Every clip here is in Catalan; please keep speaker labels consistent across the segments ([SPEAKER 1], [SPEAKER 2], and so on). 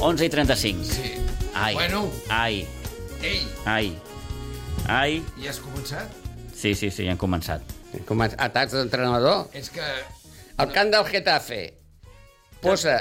[SPEAKER 1] 11 i 35.
[SPEAKER 2] Sí.
[SPEAKER 1] Ai.
[SPEAKER 2] Bueno.
[SPEAKER 1] Ai,
[SPEAKER 2] Ei,
[SPEAKER 1] ai, ai.
[SPEAKER 2] ja has començat?
[SPEAKER 1] Sí, sí, sí, ja hem començat.
[SPEAKER 3] Com a atacs d'entrenador.
[SPEAKER 2] És que...
[SPEAKER 3] El camp del Getafe posa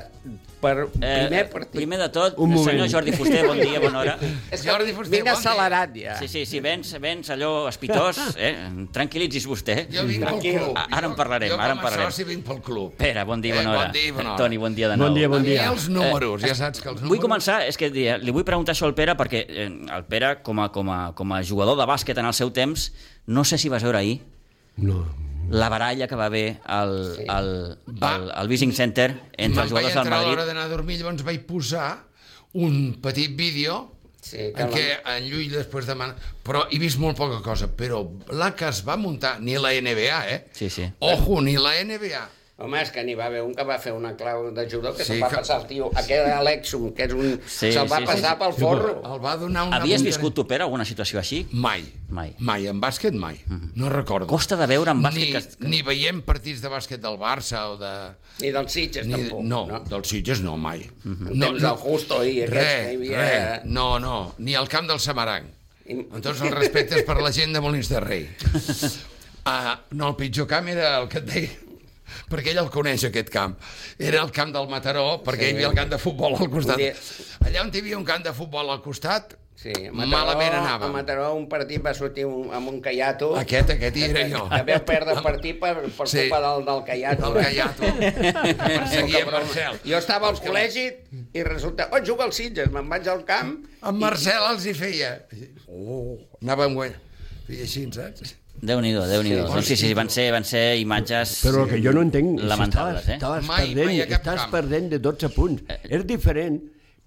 [SPEAKER 3] per primer partit.
[SPEAKER 1] Eh, primer de tot,
[SPEAKER 4] Un moment.
[SPEAKER 1] senyor Jordi Fuster, bon dia, bona hora.
[SPEAKER 3] És que
[SPEAKER 2] Jordi Fuster, bon
[SPEAKER 3] vinc
[SPEAKER 2] dia.
[SPEAKER 3] accelerat ja.
[SPEAKER 1] Sí, sí, sí, vens, vens allò espitós, eh? tranquil·litzis vostè.
[SPEAKER 2] Jo vinc pel
[SPEAKER 3] Tranquil.
[SPEAKER 2] club.
[SPEAKER 1] A- ara en parlarem,
[SPEAKER 2] jo, jo
[SPEAKER 1] ara en parlarem.
[SPEAKER 2] Jo com a soci vinc pel club.
[SPEAKER 1] Pere, bon dia,
[SPEAKER 2] Eh,
[SPEAKER 1] bona
[SPEAKER 2] bon
[SPEAKER 1] hora.
[SPEAKER 2] dia, bona hora.
[SPEAKER 1] Toni, bon dia de nou.
[SPEAKER 4] Bon dia,
[SPEAKER 2] A
[SPEAKER 4] bon
[SPEAKER 2] mi
[SPEAKER 4] dia.
[SPEAKER 2] els números, ja saps que els números...
[SPEAKER 1] Eh, Vull començar, és que eh, li vull preguntar això al Pere perquè eh, el Pere, com a, com, a, com a jugador de bàsquet en el seu temps, no sé si vas veure ahir
[SPEAKER 4] No.
[SPEAKER 1] la baralla que va haver al, sí. al,
[SPEAKER 2] Va.
[SPEAKER 1] al, al Vising Center entre els jugadors del
[SPEAKER 2] Me'n vaig entrar a l'hora
[SPEAKER 1] Madrid.
[SPEAKER 2] d'anar a dormir, llavors vaig posar un petit vídeo
[SPEAKER 3] Sí, que
[SPEAKER 2] en què en Llull després demana... Però he vist molt poca cosa, però la que es va muntar, ni la NBA, eh?
[SPEAKER 1] Sí, sí.
[SPEAKER 2] Ojo, ni la NBA.
[SPEAKER 3] Home, és que n'hi va haver un que va fer una clau de judo que
[SPEAKER 2] Sí,
[SPEAKER 3] sí, se'l va
[SPEAKER 2] que-
[SPEAKER 3] passar el tio, aquell Alexum, que és un...
[SPEAKER 1] Sí,
[SPEAKER 3] Sí, se'l va
[SPEAKER 1] sí, sí,
[SPEAKER 3] sí, passar
[SPEAKER 1] sí.
[SPEAKER 3] sí, pel forro.
[SPEAKER 2] El va donar una...
[SPEAKER 1] Havies
[SPEAKER 2] muntada-
[SPEAKER 1] viscut tu, Pere, alguna situació així?
[SPEAKER 2] Mai.
[SPEAKER 1] Mai. Mm-hmm.
[SPEAKER 2] Mai, en bàsquet mai. No recordo.
[SPEAKER 1] Costa de veure en
[SPEAKER 2] ni,
[SPEAKER 1] bàsquet... que-
[SPEAKER 2] ni veiem partits de bàsquet del Barça o de...
[SPEAKER 3] Ni dels Sitges,
[SPEAKER 2] Ni,
[SPEAKER 3] tampoc.
[SPEAKER 2] no,
[SPEAKER 3] no? Mhm.
[SPEAKER 2] dels Sitges no, mai.
[SPEAKER 3] No, temps del Justo i aquest que
[SPEAKER 2] Re,
[SPEAKER 3] hi havia...
[SPEAKER 2] re, no, no, ni al camp del Samarang.
[SPEAKER 3] I-
[SPEAKER 2] Amb tots els respectes per la gent de Molins de Rei. Ah, no, el pitjor camp era el que et deia perquè ell el coneix, aquest camp. Era el camp del Mataró, perquè sí. hi havia el camp de futbol al costat.
[SPEAKER 3] Volia-
[SPEAKER 2] Allà on hi havia un camp de futbol al costat,
[SPEAKER 3] Sí, a Mataró,
[SPEAKER 2] malament
[SPEAKER 3] A
[SPEAKER 2] anàvem.
[SPEAKER 3] Mataró un partit va sortir un, amb un caiato.
[SPEAKER 2] Aquest, aquest hi era jo.
[SPEAKER 3] Que veu perdre el partit per,
[SPEAKER 2] Sí.
[SPEAKER 3] per sí. culpa del, del caiato. eh?
[SPEAKER 2] El Gaiato. Perseguia Marcel.
[SPEAKER 3] Jo estava al col·legi i resulta... Oh, juga al Sitges, me'n vaig al camp...
[SPEAKER 2] En Marcel els hi feia. Oh, anàvem guanyant. Feia així, saps?
[SPEAKER 1] Déu-n'hi-do, Déu-n'hi-do. Sí, sí, sí, van ser, van ser imatges...
[SPEAKER 4] Però el que jo no entenc... és si
[SPEAKER 1] Lamentables,
[SPEAKER 4] estaves,
[SPEAKER 1] eh?
[SPEAKER 4] Estaves
[SPEAKER 2] Mai,
[SPEAKER 4] perdent,
[SPEAKER 2] mai a cap
[SPEAKER 4] estàs
[SPEAKER 2] camp.
[SPEAKER 4] perdent de 12 punts. És diferent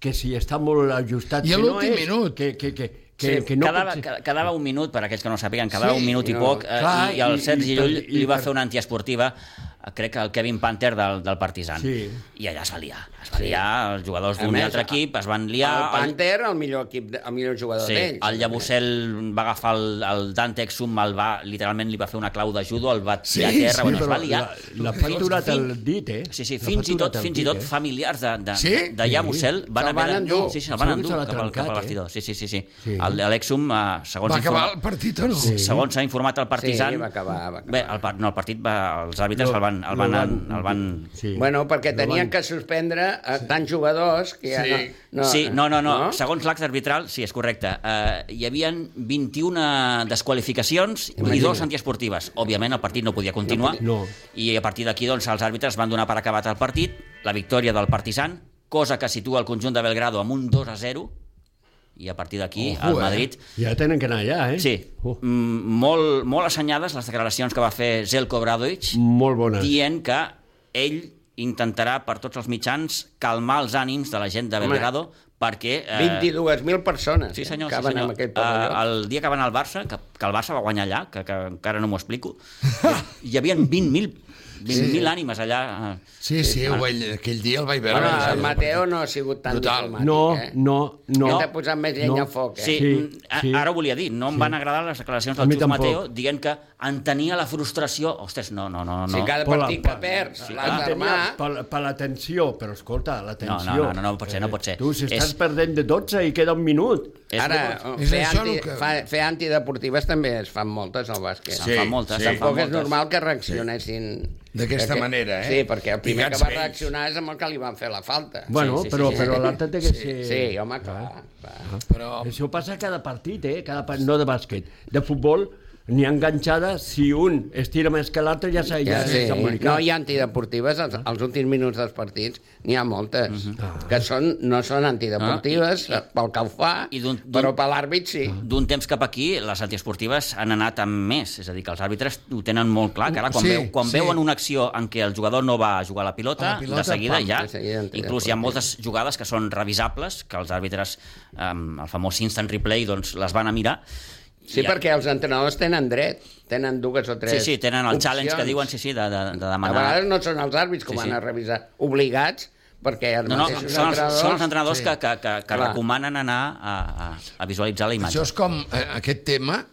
[SPEAKER 4] que si està molt ajustat.
[SPEAKER 2] I a
[SPEAKER 4] que no
[SPEAKER 2] l'últim
[SPEAKER 4] és,
[SPEAKER 2] minut.
[SPEAKER 4] Que, que, que, que, que no
[SPEAKER 1] quedava,
[SPEAKER 4] pot ser-
[SPEAKER 1] ca- quedava un minut, per aquells que no ho sàpiguen, quedava
[SPEAKER 2] Sí,
[SPEAKER 1] un minut i
[SPEAKER 3] no,
[SPEAKER 1] poc, eh,
[SPEAKER 4] clar,
[SPEAKER 1] i, i el
[SPEAKER 4] i-
[SPEAKER 1] Sergi
[SPEAKER 4] i
[SPEAKER 1] Llull
[SPEAKER 4] per- i
[SPEAKER 1] li va
[SPEAKER 4] per-
[SPEAKER 1] fer una antiesportiva, eh, crec que el Kevin Panther del, del Partizan.
[SPEAKER 4] Sí.
[SPEAKER 1] I allà es va liar. Es va liar, els jugadors
[SPEAKER 3] A
[SPEAKER 1] d'un i
[SPEAKER 3] més,
[SPEAKER 1] altre
[SPEAKER 3] a-
[SPEAKER 1] equip es van
[SPEAKER 3] Ja,
[SPEAKER 1] liar...
[SPEAKER 3] el Panther, el millor, equip, de- el millor jugador
[SPEAKER 1] Sí,
[SPEAKER 3] d'ells.
[SPEAKER 1] el Llabusel va agafar el, el Dante Exum, el va, literalment li va fer una clau de judo, el va tirar
[SPEAKER 2] Sí,
[SPEAKER 1] a terra,
[SPEAKER 2] sí,
[SPEAKER 1] bueno, es va
[SPEAKER 4] però
[SPEAKER 1] liar.
[SPEAKER 4] la- L'ha facturat el dit, eh?
[SPEAKER 1] Sí, sí,
[SPEAKER 4] L'ha
[SPEAKER 1] fins i
[SPEAKER 4] facturat
[SPEAKER 1] tot,
[SPEAKER 4] el
[SPEAKER 1] fins i
[SPEAKER 4] dit,
[SPEAKER 1] tot
[SPEAKER 4] eh?
[SPEAKER 1] familiars de, de,
[SPEAKER 2] Sí?
[SPEAKER 1] de Yamusel van
[SPEAKER 3] Se'l
[SPEAKER 1] haver
[SPEAKER 3] van
[SPEAKER 1] de-
[SPEAKER 3] endur.
[SPEAKER 1] Sí, sí, se'l van
[SPEAKER 4] Segur que
[SPEAKER 1] endur
[SPEAKER 4] se l'ha
[SPEAKER 1] cap, al, cap al
[SPEAKER 4] trencat, eh?
[SPEAKER 1] vestidor. Sí, sí, sí. sí.
[SPEAKER 4] Sí.
[SPEAKER 1] El- L'Exum, eh, segons
[SPEAKER 2] Va acabar
[SPEAKER 1] informa-
[SPEAKER 2] el partit o no?
[SPEAKER 4] Sí.
[SPEAKER 1] Segons s'ha informat el Partizan...
[SPEAKER 3] Sí, va acabar, va acabar.
[SPEAKER 1] Bé, el, par- no, el partit va... Els àrbitres el van... El van, el van...
[SPEAKER 4] Sí.
[SPEAKER 3] Bueno, perquè
[SPEAKER 4] El
[SPEAKER 3] tenien
[SPEAKER 4] van-
[SPEAKER 3] que suspendre eh, tants jugadors que ja
[SPEAKER 2] Sí.
[SPEAKER 3] no, no...
[SPEAKER 1] sí, no, no, no, Segons l'acte arbitral, sí, és correcte. Uh, hi havien 21 desqualificacions i dos antiesportives. Òbviament, el partit no podia continuar.
[SPEAKER 4] No.
[SPEAKER 1] I a partir d'aquí, doncs, els àrbitres van donar per acabat el partit, la victòria del Partizan, cosa que situa el conjunt de Belgrado amb un 2 a 0, i a partir d'aquí,
[SPEAKER 2] Ojo,
[SPEAKER 1] el
[SPEAKER 2] eh?
[SPEAKER 1] Madrid...
[SPEAKER 4] Ja tenen que anar allà, eh?
[SPEAKER 1] Sí,
[SPEAKER 4] Oh,
[SPEAKER 1] mm, molt, molt assenyades les declaracions que va fer Zelko Bradovic,
[SPEAKER 4] molt
[SPEAKER 3] Ah.
[SPEAKER 4] bones.
[SPEAKER 1] dient que ell intentarà per tots els mitjans calmar els ànims de la gent de
[SPEAKER 3] Home.
[SPEAKER 1] Belgrado perquè... eh,
[SPEAKER 3] 22.000 persones
[SPEAKER 1] Sí, senyor,
[SPEAKER 3] que
[SPEAKER 1] sí,
[SPEAKER 3] van
[SPEAKER 1] senyor.
[SPEAKER 3] amb aquell
[SPEAKER 1] Eh,
[SPEAKER 3] pavelló.
[SPEAKER 1] el dia que van al Barça, que, que el Barça va guanyar allà, que, que encara no m'ho explico, hi havia 20.000 20 sí. ànimes allà. eh.
[SPEAKER 2] Sí, sí, ho vaig, aquell dia el vaig veure.
[SPEAKER 3] Bueno,
[SPEAKER 1] Ah,
[SPEAKER 2] vaig
[SPEAKER 3] el
[SPEAKER 2] veure.
[SPEAKER 3] Mateo no ha sigut tan
[SPEAKER 2] Total.
[SPEAKER 3] diplomàtic,
[SPEAKER 4] No,
[SPEAKER 3] eh?
[SPEAKER 4] no, no.
[SPEAKER 3] Hem de posar més llenya al foc, eh?
[SPEAKER 1] Sí,
[SPEAKER 4] Sí,
[SPEAKER 1] mm, a-
[SPEAKER 4] sí.
[SPEAKER 1] ara ho volia dir, no em van agradar les declaracions
[SPEAKER 4] A
[SPEAKER 1] del
[SPEAKER 4] mi
[SPEAKER 1] Xus
[SPEAKER 4] tampoc.
[SPEAKER 1] Mateo dient que entenia la frustració... Ostres, no, no, no. no.
[SPEAKER 3] Si cada
[SPEAKER 4] Però la-
[SPEAKER 3] partit que perds
[SPEAKER 2] Ah,
[SPEAKER 3] l'has d'armar...
[SPEAKER 4] Ah, Per, per l'atenció, però escolta, l'atenció. Eh,
[SPEAKER 1] No, no, no, no, no pot ser, no pot ser.
[SPEAKER 4] Tu, si estàs
[SPEAKER 1] És-
[SPEAKER 4] perdent de 12 i queda un minut.
[SPEAKER 1] És
[SPEAKER 3] Ara, oh,
[SPEAKER 1] molt-
[SPEAKER 2] És
[SPEAKER 3] fer,
[SPEAKER 2] això
[SPEAKER 3] anti,
[SPEAKER 2] el que-
[SPEAKER 3] fa, fer antideportives també es fan moltes al bàsquet.
[SPEAKER 1] Se'n fan moltes,
[SPEAKER 2] sí.
[SPEAKER 1] se'n fan
[SPEAKER 3] Tampoc és
[SPEAKER 1] moltes.
[SPEAKER 3] normal que reaccionessin...
[SPEAKER 2] D'aquesta
[SPEAKER 3] Perquè-
[SPEAKER 2] manera, eh?
[SPEAKER 3] Sí, perquè el primer
[SPEAKER 2] Lligats
[SPEAKER 3] que va
[SPEAKER 2] vells.
[SPEAKER 3] reaccionar és amb el que li van fer la falta.
[SPEAKER 4] Bueno,
[SPEAKER 1] sí, sí,
[SPEAKER 4] però,
[SPEAKER 1] sí, sí.
[SPEAKER 4] però l'altre té que ser... Ah.
[SPEAKER 3] Sí, home, clar. clar.
[SPEAKER 2] Però
[SPEAKER 4] Això passa a cada partit, eh? Cada part... No de bàsquet. De futbol n'hi ha enganxada, si un estira més que l'altre ja s'ha
[SPEAKER 3] Ja,
[SPEAKER 4] ja
[SPEAKER 3] sí.
[SPEAKER 4] s'ha embolicat.
[SPEAKER 3] No hi ha antideportives als, als últims minuts dels partits, n'hi ha moltes,
[SPEAKER 1] Mhm.
[SPEAKER 4] Ah.
[SPEAKER 3] que són, no són antideportives pel que ho fa,
[SPEAKER 1] Ah, I d'un- Ah. d'un-
[SPEAKER 3] però per l'àrbit sí.
[SPEAKER 1] d'un temps cap aquí, les antiesportives han anat amb més, és a dir, que els àrbitres ho tenen molt clar, que ara quan,
[SPEAKER 2] Sí,
[SPEAKER 1] sí, veu, quan
[SPEAKER 2] sí.
[SPEAKER 1] sí. veuen una acció en què el jugador no va a jugar a la pilota,
[SPEAKER 2] A la pilota,
[SPEAKER 1] de seguida
[SPEAKER 2] pam,
[SPEAKER 1] ja,
[SPEAKER 3] de seguida en té
[SPEAKER 1] inclús hi ha moltes jugades que són revisables, que els àrbitres, amb el famós instant replay, doncs les van a mirar.
[SPEAKER 3] Sí,
[SPEAKER 1] I-
[SPEAKER 3] perquè els entrenadors tenen dret, tenen dues o
[SPEAKER 1] Sí,
[SPEAKER 3] tres
[SPEAKER 1] sí, tenen el challenge que
[SPEAKER 3] opcions.
[SPEAKER 1] diuen, sí, sí, de, de, de
[SPEAKER 3] A
[SPEAKER 1] demanar...
[SPEAKER 3] vegades no són els àrbits que
[SPEAKER 1] Sí,
[SPEAKER 3] sí,
[SPEAKER 1] sí.
[SPEAKER 3] van a revisar, obligats, perquè els
[SPEAKER 1] No, no, són
[SPEAKER 3] mateixos
[SPEAKER 1] els, són els entrenadors
[SPEAKER 2] Sí.
[SPEAKER 1] que, que, que, que
[SPEAKER 3] Clar.
[SPEAKER 1] recomanen anar a, a, a visualitzar la imatge.
[SPEAKER 2] això és com eh, aquest tema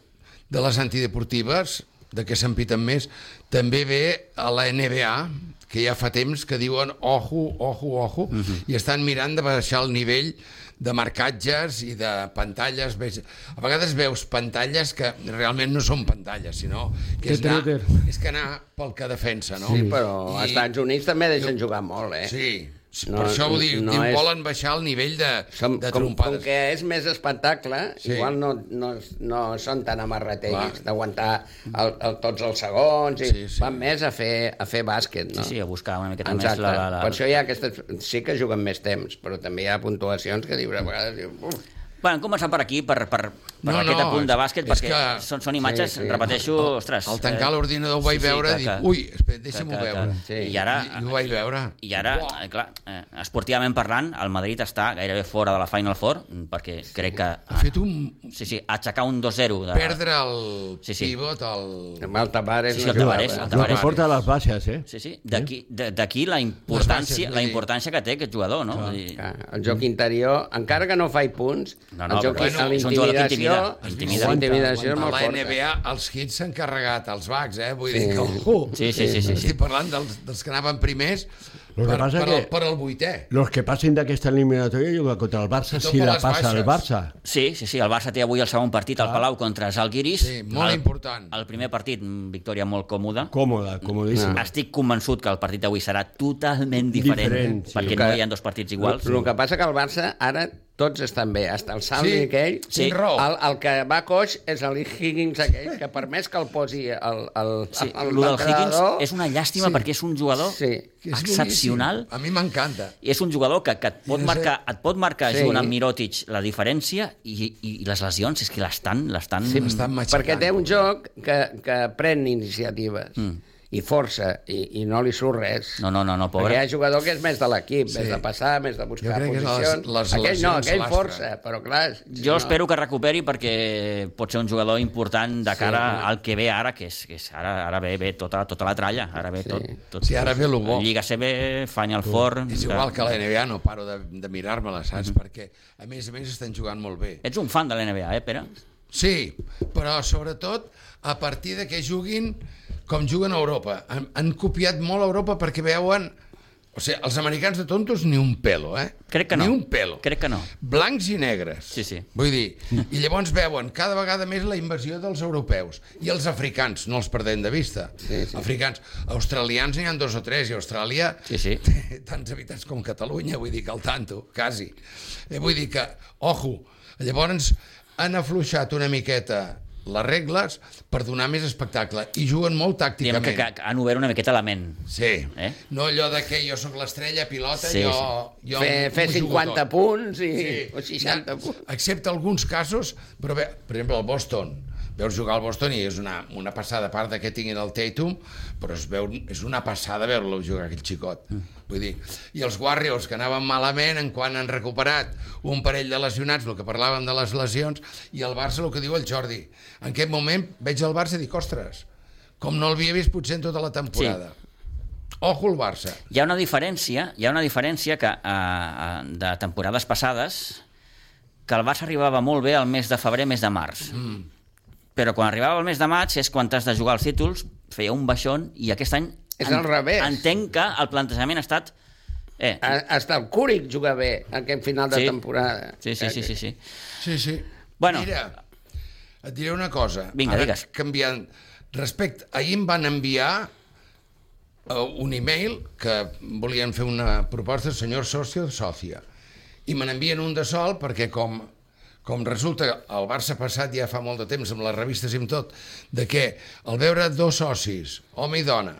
[SPEAKER 2] de les antideportives, de què se'n piten més, també ve a la NBA, que ja fa temps que diuen ojo, ojo, ojo, uh -huh. i estan mirant de baixar el nivell de marcatges i de pantalles. Veig- A vegades veus pantalles que realment no són pantalles, sinó que és anar,
[SPEAKER 5] Tetraeder.
[SPEAKER 2] és que anar pel que defensa, no?
[SPEAKER 3] Sí, però als
[SPEAKER 2] I-
[SPEAKER 3] Estats Units també deixen jugar molt, eh?
[SPEAKER 2] Sí, sí,
[SPEAKER 3] No,
[SPEAKER 2] per això ho dic,
[SPEAKER 3] no
[SPEAKER 2] diu,
[SPEAKER 3] és-
[SPEAKER 2] volen baixar el nivell de,
[SPEAKER 3] Som,
[SPEAKER 2] de
[SPEAKER 3] com, com
[SPEAKER 2] trompades.
[SPEAKER 3] que és més espectacle,
[SPEAKER 2] Sí.
[SPEAKER 3] sí. igual no, no, no són tan amarratells
[SPEAKER 2] Clar.
[SPEAKER 3] d'aguantar el, el, tots els segons, i
[SPEAKER 2] Sí,
[SPEAKER 3] sí,
[SPEAKER 2] sí.
[SPEAKER 3] sí. van més a fer, a fer bàsquet, no?
[SPEAKER 1] Sí, sí, a buscar una miqueta
[SPEAKER 3] Exacte.
[SPEAKER 1] més la... la, la...
[SPEAKER 3] Per això hi ha aquestes... Sí que juguen més temps, però també hi ha puntuacions que dius a vegades... dius, Uf,
[SPEAKER 1] Bueno, hem començat per aquí, per, per, per
[SPEAKER 2] No,
[SPEAKER 1] no, aquest
[SPEAKER 2] no,
[SPEAKER 1] apunt de bàsquet,
[SPEAKER 2] és
[SPEAKER 1] perquè
[SPEAKER 2] que-
[SPEAKER 1] són, són imatges,
[SPEAKER 3] Sí,
[SPEAKER 1] sí,
[SPEAKER 3] sí.
[SPEAKER 1] sí. repeteixo, ostres...
[SPEAKER 2] Al tancar
[SPEAKER 1] eh,
[SPEAKER 2] l'ordinador ho vaig veure i dic, ui, espera, deixa'm-ho
[SPEAKER 1] que- que-
[SPEAKER 2] veure.
[SPEAKER 1] Sí.
[SPEAKER 3] Sí.
[SPEAKER 1] I ara,
[SPEAKER 2] I, I ho vaig veure.
[SPEAKER 1] i ara eh, clar, eh, esportivament parlant, el Madrid està gairebé fora de la Final Four, mm, perquè crec que...
[SPEAKER 2] Ha fet un...
[SPEAKER 1] Sí, sí, aixecar un 2-0. De...
[SPEAKER 2] Perdre el
[SPEAKER 1] Sí, sí.
[SPEAKER 2] pivot, el...
[SPEAKER 3] amb el Tavares...
[SPEAKER 1] Sí, sí,
[SPEAKER 3] no
[SPEAKER 1] el
[SPEAKER 3] jugava.
[SPEAKER 1] Tavares, el
[SPEAKER 4] El
[SPEAKER 1] Tavares.
[SPEAKER 4] que porta les baixes, eh?
[SPEAKER 1] Sí, sí, d'aquí de- d'aquí la
[SPEAKER 2] baixes,
[SPEAKER 1] importància
[SPEAKER 2] vull
[SPEAKER 1] la
[SPEAKER 2] dir.
[SPEAKER 1] importància que té aquest jugador, no? Vull dir,
[SPEAKER 3] Clar, El joc interior, encara que no faci punts,
[SPEAKER 1] No, no,
[SPEAKER 3] el joc,
[SPEAKER 1] però
[SPEAKER 2] bueno,
[SPEAKER 3] la
[SPEAKER 2] és
[SPEAKER 1] un jugador que
[SPEAKER 3] intimidació,
[SPEAKER 1] intimida, intimida.
[SPEAKER 3] la intimidació
[SPEAKER 2] A
[SPEAKER 3] és molt eh.
[SPEAKER 2] la
[SPEAKER 3] forta.
[SPEAKER 2] NBA, els hits s'han carregat, els Bucks, eh? Vull dir que, ojo,
[SPEAKER 1] Sí, sí, sí, sí, sí.
[SPEAKER 2] estic parlant dels, dels que anaven primers
[SPEAKER 4] Lo que
[SPEAKER 2] per,
[SPEAKER 4] passa
[SPEAKER 2] per,
[SPEAKER 4] que-
[SPEAKER 2] el, per el vuitè.
[SPEAKER 4] Los que passen d'aquesta eliminatòria juguen contra el Barça
[SPEAKER 2] I tot
[SPEAKER 4] si
[SPEAKER 2] per
[SPEAKER 4] la
[SPEAKER 2] les
[SPEAKER 4] passa el
[SPEAKER 2] baixes.
[SPEAKER 4] Barça.
[SPEAKER 1] Sí, sí, sí, el Barça té avui el segon partit al Palau contra Zalguiris.
[SPEAKER 2] Sí, molt
[SPEAKER 1] el,
[SPEAKER 2] important.
[SPEAKER 1] El primer partit, mm, victòria molt còmoda.
[SPEAKER 4] Còmode, comodíssim. Ah.
[SPEAKER 1] Estic convençut que el partit d'avui serà totalment diferent,
[SPEAKER 4] Diferent, sí.
[SPEAKER 1] perquè
[SPEAKER 3] Que-
[SPEAKER 1] no hi ha dos partits iguals.
[SPEAKER 3] El que passa que el Barça ara tots estan bé, hasta el Salvi
[SPEAKER 2] Sí,
[SPEAKER 3] aquell.
[SPEAKER 2] sí.
[SPEAKER 3] El, el que va coix és el Higgins aquell, que per més que el posi el, el,
[SPEAKER 1] Sí,
[SPEAKER 3] el,
[SPEAKER 1] el del Higgins
[SPEAKER 3] l'entrenador,
[SPEAKER 1] és una llàstima
[SPEAKER 2] Sí.
[SPEAKER 1] perquè és un jugador
[SPEAKER 3] Sí,
[SPEAKER 2] Que és
[SPEAKER 1] excepcional.
[SPEAKER 2] boníssim. A mi m'encanta.
[SPEAKER 1] I és un jugador que, que et pot
[SPEAKER 2] I no sé-
[SPEAKER 1] marcar, et pot marcar
[SPEAKER 3] Sí.
[SPEAKER 1] sí. junt amb Mirotic la diferència i, i, i les lesions, és que l'estan... l'estan...
[SPEAKER 2] Sí, M'estan matxacant.
[SPEAKER 3] Perquè té un joc que, que pren iniciatives mm. i força, i, i no li surt res.
[SPEAKER 1] No, no, no, no, pobre.
[SPEAKER 3] Perquè hi ha jugador que és més de l'equip, sí. més de passar, més de buscar
[SPEAKER 2] crec que les-
[SPEAKER 3] posicions.
[SPEAKER 2] les
[SPEAKER 3] aquell no,
[SPEAKER 2] lesions
[SPEAKER 3] aquell
[SPEAKER 2] l'astren.
[SPEAKER 3] força, però clar... si
[SPEAKER 1] Jo
[SPEAKER 3] no...
[SPEAKER 1] espero que recuperi perquè pot ser un jugador important de cara sí, al que ve ara, que és, que és ara, ara ve, ve tota, tota la tralla, ara ve sí. tot, tot...
[SPEAKER 2] Sí, ara ve lo bo.
[SPEAKER 1] Lliga CB, Final Four...
[SPEAKER 2] És igual que la NBA, no paro de, de mirar-me-la, saps? Perquè, a més a més, estan jugant molt bé.
[SPEAKER 1] Ets un fan de l'NBA, eh, Pere?
[SPEAKER 2] Sí, però sobretot a partir de que juguin com juguen a Europa. Han, han copiat molt a Europa perquè veuen... O sigui, els americans de tontos ni un pelo, eh?
[SPEAKER 1] Crec que no.
[SPEAKER 2] Ni un pelo.
[SPEAKER 1] Crec que no.
[SPEAKER 2] Blancs i negres.
[SPEAKER 1] Sí, sí.
[SPEAKER 2] Vull dir, i llavors veuen cada vegada més la invasió dels europeus i els africans, no els perdem de vista. Sí, sí. Africans. Australians n'hi ha dos o tres, i Austràlia
[SPEAKER 1] Sí, sí.
[SPEAKER 2] té tants habitants com Catalunya, vull dir que al tanto, quasi. Eh, vull dir que, ojo, llavors han afluixat una miqueta les regles per donar més espectacle i juguen molt
[SPEAKER 1] Diguem
[SPEAKER 2] tàcticament.
[SPEAKER 1] que, que, que han obert una miqueta la ment.
[SPEAKER 2] Sí, eh?
[SPEAKER 1] Eh?
[SPEAKER 2] no allò de que jo sóc l'estrella, pilota,
[SPEAKER 1] Sí,
[SPEAKER 2] sí, jo... jo
[SPEAKER 3] Fer, fer
[SPEAKER 2] m'ho jugo
[SPEAKER 3] 50
[SPEAKER 2] tot.
[SPEAKER 3] punts i,
[SPEAKER 2] Sí.
[SPEAKER 3] o 60 punts.
[SPEAKER 2] Excepte alguns casos, però bé, per exemple, el Boston. Veus jugar al Boston i és una, una passada, a part de que tinguin el Tatum, però es veu, és una passada veure-lo jugar aquell xicot. Vull dir, i els Warriors, que anaven malament en quan han recuperat un parell de lesionats, el que parlaven de les lesions, i el Barça, el que diu el Jordi. En aquest moment veig el Barça i dic, ostres, com no l'havia vist potser en tota la temporada. Ojo el Barça.
[SPEAKER 1] Hi ha una diferència, hi ha una diferència que, eh, de temporades passades que el Barça arribava molt bé al mes de febrer, mes de març. Mm. Però quan arribava al mes de maig és quan t'has de jugar els títols, feia un baixón i aquest any
[SPEAKER 3] És
[SPEAKER 1] en-
[SPEAKER 3] al revés. Ah,
[SPEAKER 1] entenc que el plantejament ha estat eh,
[SPEAKER 3] A- Hasta el Cúric juga bé aquest final de
[SPEAKER 1] Sí.
[SPEAKER 3] temporada.
[SPEAKER 1] sí, sí, sí, sí, sí.
[SPEAKER 2] Sí, sí.
[SPEAKER 1] Bueno.
[SPEAKER 2] Mira, et diré una cosa.
[SPEAKER 1] Vinga, digues.
[SPEAKER 2] Canviant. Respecte, ahir em van enviar eh, un e-mail que volien fer una proposta, senyor socio, sòcia. I me n'envien un de sol perquè com, com resulta que el Barça passat ja fa molt de temps amb les revistes i amb tot, de que al veure dos socis, home i dona,